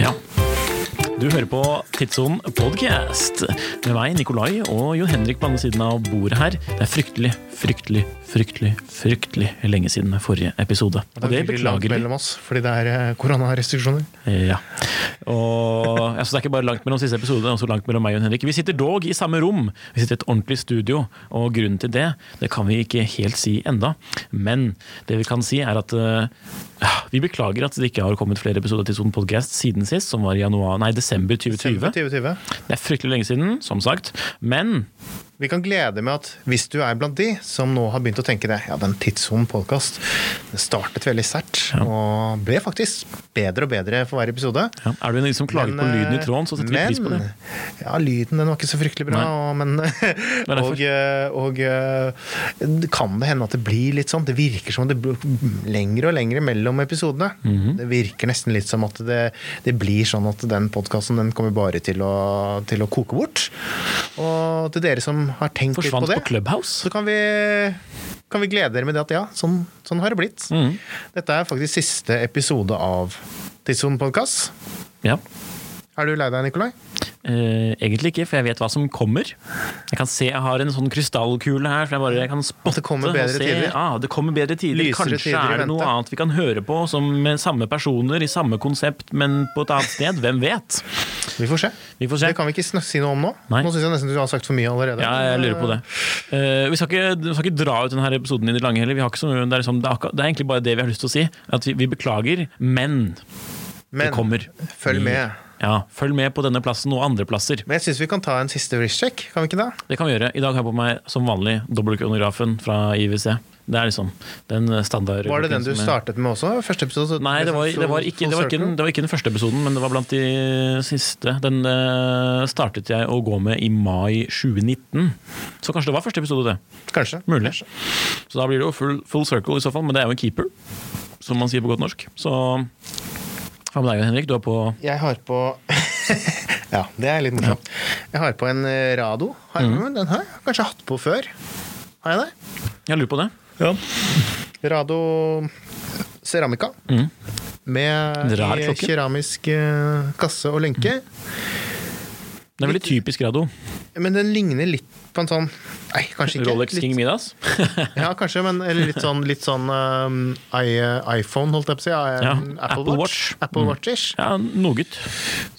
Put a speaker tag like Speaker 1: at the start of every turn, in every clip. Speaker 1: Ja. Du hører på Tidssonen podcast med meg, Nikolai, og Jon Henrik på andre siden av bordet her. Det er fryktelig, fryktelig, fryktelig fryktelig lenge siden forrige episode. Og det
Speaker 2: veldig langt
Speaker 1: beklager vi.
Speaker 2: mellom oss, fordi det er eh, koronarestriksjoner.
Speaker 1: Ja. Og, altså, det er ikke bare langt mellom siste episode, det er også langt mellom meg og Jon Henrik. Vi sitter dog i samme rom. Vi sitter i et ordentlig studio, og grunnen til det det kan vi ikke helt si enda. Men det vi kan si, er at eh, vi beklager at det ikke har kommet flere episoder til Sonen Podcast siden sist, som var i januar, nei, desember 2020.
Speaker 2: 2020.
Speaker 1: Det er fryktelig lenge siden, som sagt. Men
Speaker 2: Vi kan glede med at hvis du er blant de som nå har begynt å tenke det, ja, den tidssonen podcast, det startet veldig sært, og ble faktisk bedre og bedre for hver episode.
Speaker 1: ja, er du en av de som klager på lyden i tråden, så setter vi
Speaker 2: eh, men,
Speaker 1: pris på det.
Speaker 2: Ja, lyden den var ikke så fryktelig bra,
Speaker 1: Nei.
Speaker 2: og, men
Speaker 1: derfor.
Speaker 2: og, eh, og eh, det kan det hende at det blir litt sånn Det virker som det blir lengre og lengre mellom episodene.
Speaker 1: Mhm.
Speaker 2: Det virker nesten litt som at det, det blir sånn at den podkasten den kommer bare til å, til å koke bort. Og til dere som har tenkt
Speaker 1: Forsvant på
Speaker 2: litt på det,
Speaker 1: Clubhouse.
Speaker 2: så kan vi, kan vi glede dere med det at ja, sånn, sånn har det blitt.
Speaker 1: Mhm.
Speaker 2: Dette er faktisk siste episode av Tidssonen podkast.
Speaker 1: Ja.
Speaker 2: Er du lei deg, Nikolai?
Speaker 1: Eh, egentlig ikke, for jeg vet hva som kommer. Jeg kan se jeg har en sånn krystallkule her, for jeg bare jeg kan spotte
Speaker 2: det kommer
Speaker 1: og
Speaker 2: bedre
Speaker 1: se.
Speaker 2: tider.
Speaker 1: Ah, det kommer bedre tider.
Speaker 2: Lysere
Speaker 1: Kanskje
Speaker 2: tider i
Speaker 1: er det noe
Speaker 2: vente.
Speaker 1: annet vi kan høre på, som med samme personer, i samme konsept, men på et annet sted. Hvem vet?
Speaker 2: Vi får se.
Speaker 1: Vi får se.
Speaker 2: Det kan vi ikke snak- si noe om nå.
Speaker 1: Nei.
Speaker 2: Nå syns jeg nesten du har sagt for mye allerede.
Speaker 1: Ja, jeg lurer på det. Eh, vi, skal ikke, vi skal ikke dra ut denne her episoden i det lange heller. Vi har ikke så, mye- det, er liksom, det, er akkurat, det er egentlig bare det vi har lyst til å si. At vi, vi beklager, men
Speaker 2: Men
Speaker 1: det kommer.
Speaker 2: følg med.
Speaker 1: Ja, følg med på denne plassen og andre plasser.
Speaker 2: Men jeg syns vi kan ta en siste wrist-check, kan vi ikke det?
Speaker 1: Det kan vi gjøre. I dag har jeg på meg som vanlig dobbeltkronografen fra IWC. Det er liksom den standard
Speaker 2: Var det den du
Speaker 1: som jeg-
Speaker 2: startet med også? Første episode? så-
Speaker 1: Nei, det var, det, var ikke, det, var ikke den, det var ikke den første episoden, men det var blant de siste. Den eh, startet jeg å gå med i mai 2019. Så kanskje det var første episode, det.
Speaker 2: Kanskje.
Speaker 1: Mulig. Så da blir det jo full, full circle i så fall, men det er jo en keeper, som man sier på godt norsk. Så hva med deg, Henrik? Du er på
Speaker 2: Jeg har på Ja, det er litt morsomt. Jeg har på en eh, radio. Har jeg,
Speaker 1: Mm.
Speaker 2: Den her? har jeg Kanskje hatt på før? Har jeg det?
Speaker 1: Jeg lurer på det.
Speaker 2: Radio Ceramica.
Speaker 1: Mm.
Speaker 2: Med
Speaker 1: En rar
Speaker 2: i
Speaker 1: klokke.
Speaker 2: keramisk eh, kasse og lenke.
Speaker 1: Det er veldig typisk radio.
Speaker 2: Men den ligner litt på en sånn Nei, kanskje ikke.
Speaker 1: Rolex
Speaker 2: litt,
Speaker 1: King Midas.
Speaker 2: Ja, kanskje, men eller litt sånn, litt sånn um, i, iPhone, holdt jeg på å si. I-
Speaker 1: Ja,
Speaker 2: Apple,
Speaker 1: Apple
Speaker 2: Watch.
Speaker 1: Watch. Mm.
Speaker 2: Apple Watch-ish.
Speaker 1: Ja, noe gutt.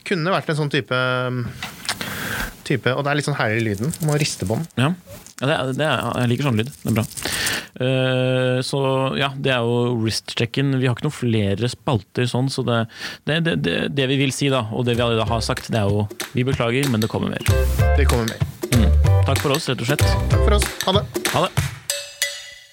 Speaker 2: Kunne vært en sånn type um, Type, og det er litt sånn herlig i lyden. Må riste på den.
Speaker 1: Ja. Ja, det er, det er, jeg liker sånn lyd. Det er bra. Eh, så ja, det er jo wrist-checken. Vi har ikke noen flere spalter sånn, så det, det, det, det, det vi vil si, da, og det vi allerede har sagt, det er jo Vi beklager, men det kommer mer.
Speaker 2: Det kommer mer.
Speaker 1: Takk for oss, rett og slett.
Speaker 2: Takk for oss. Ha det.
Speaker 1: Ha det.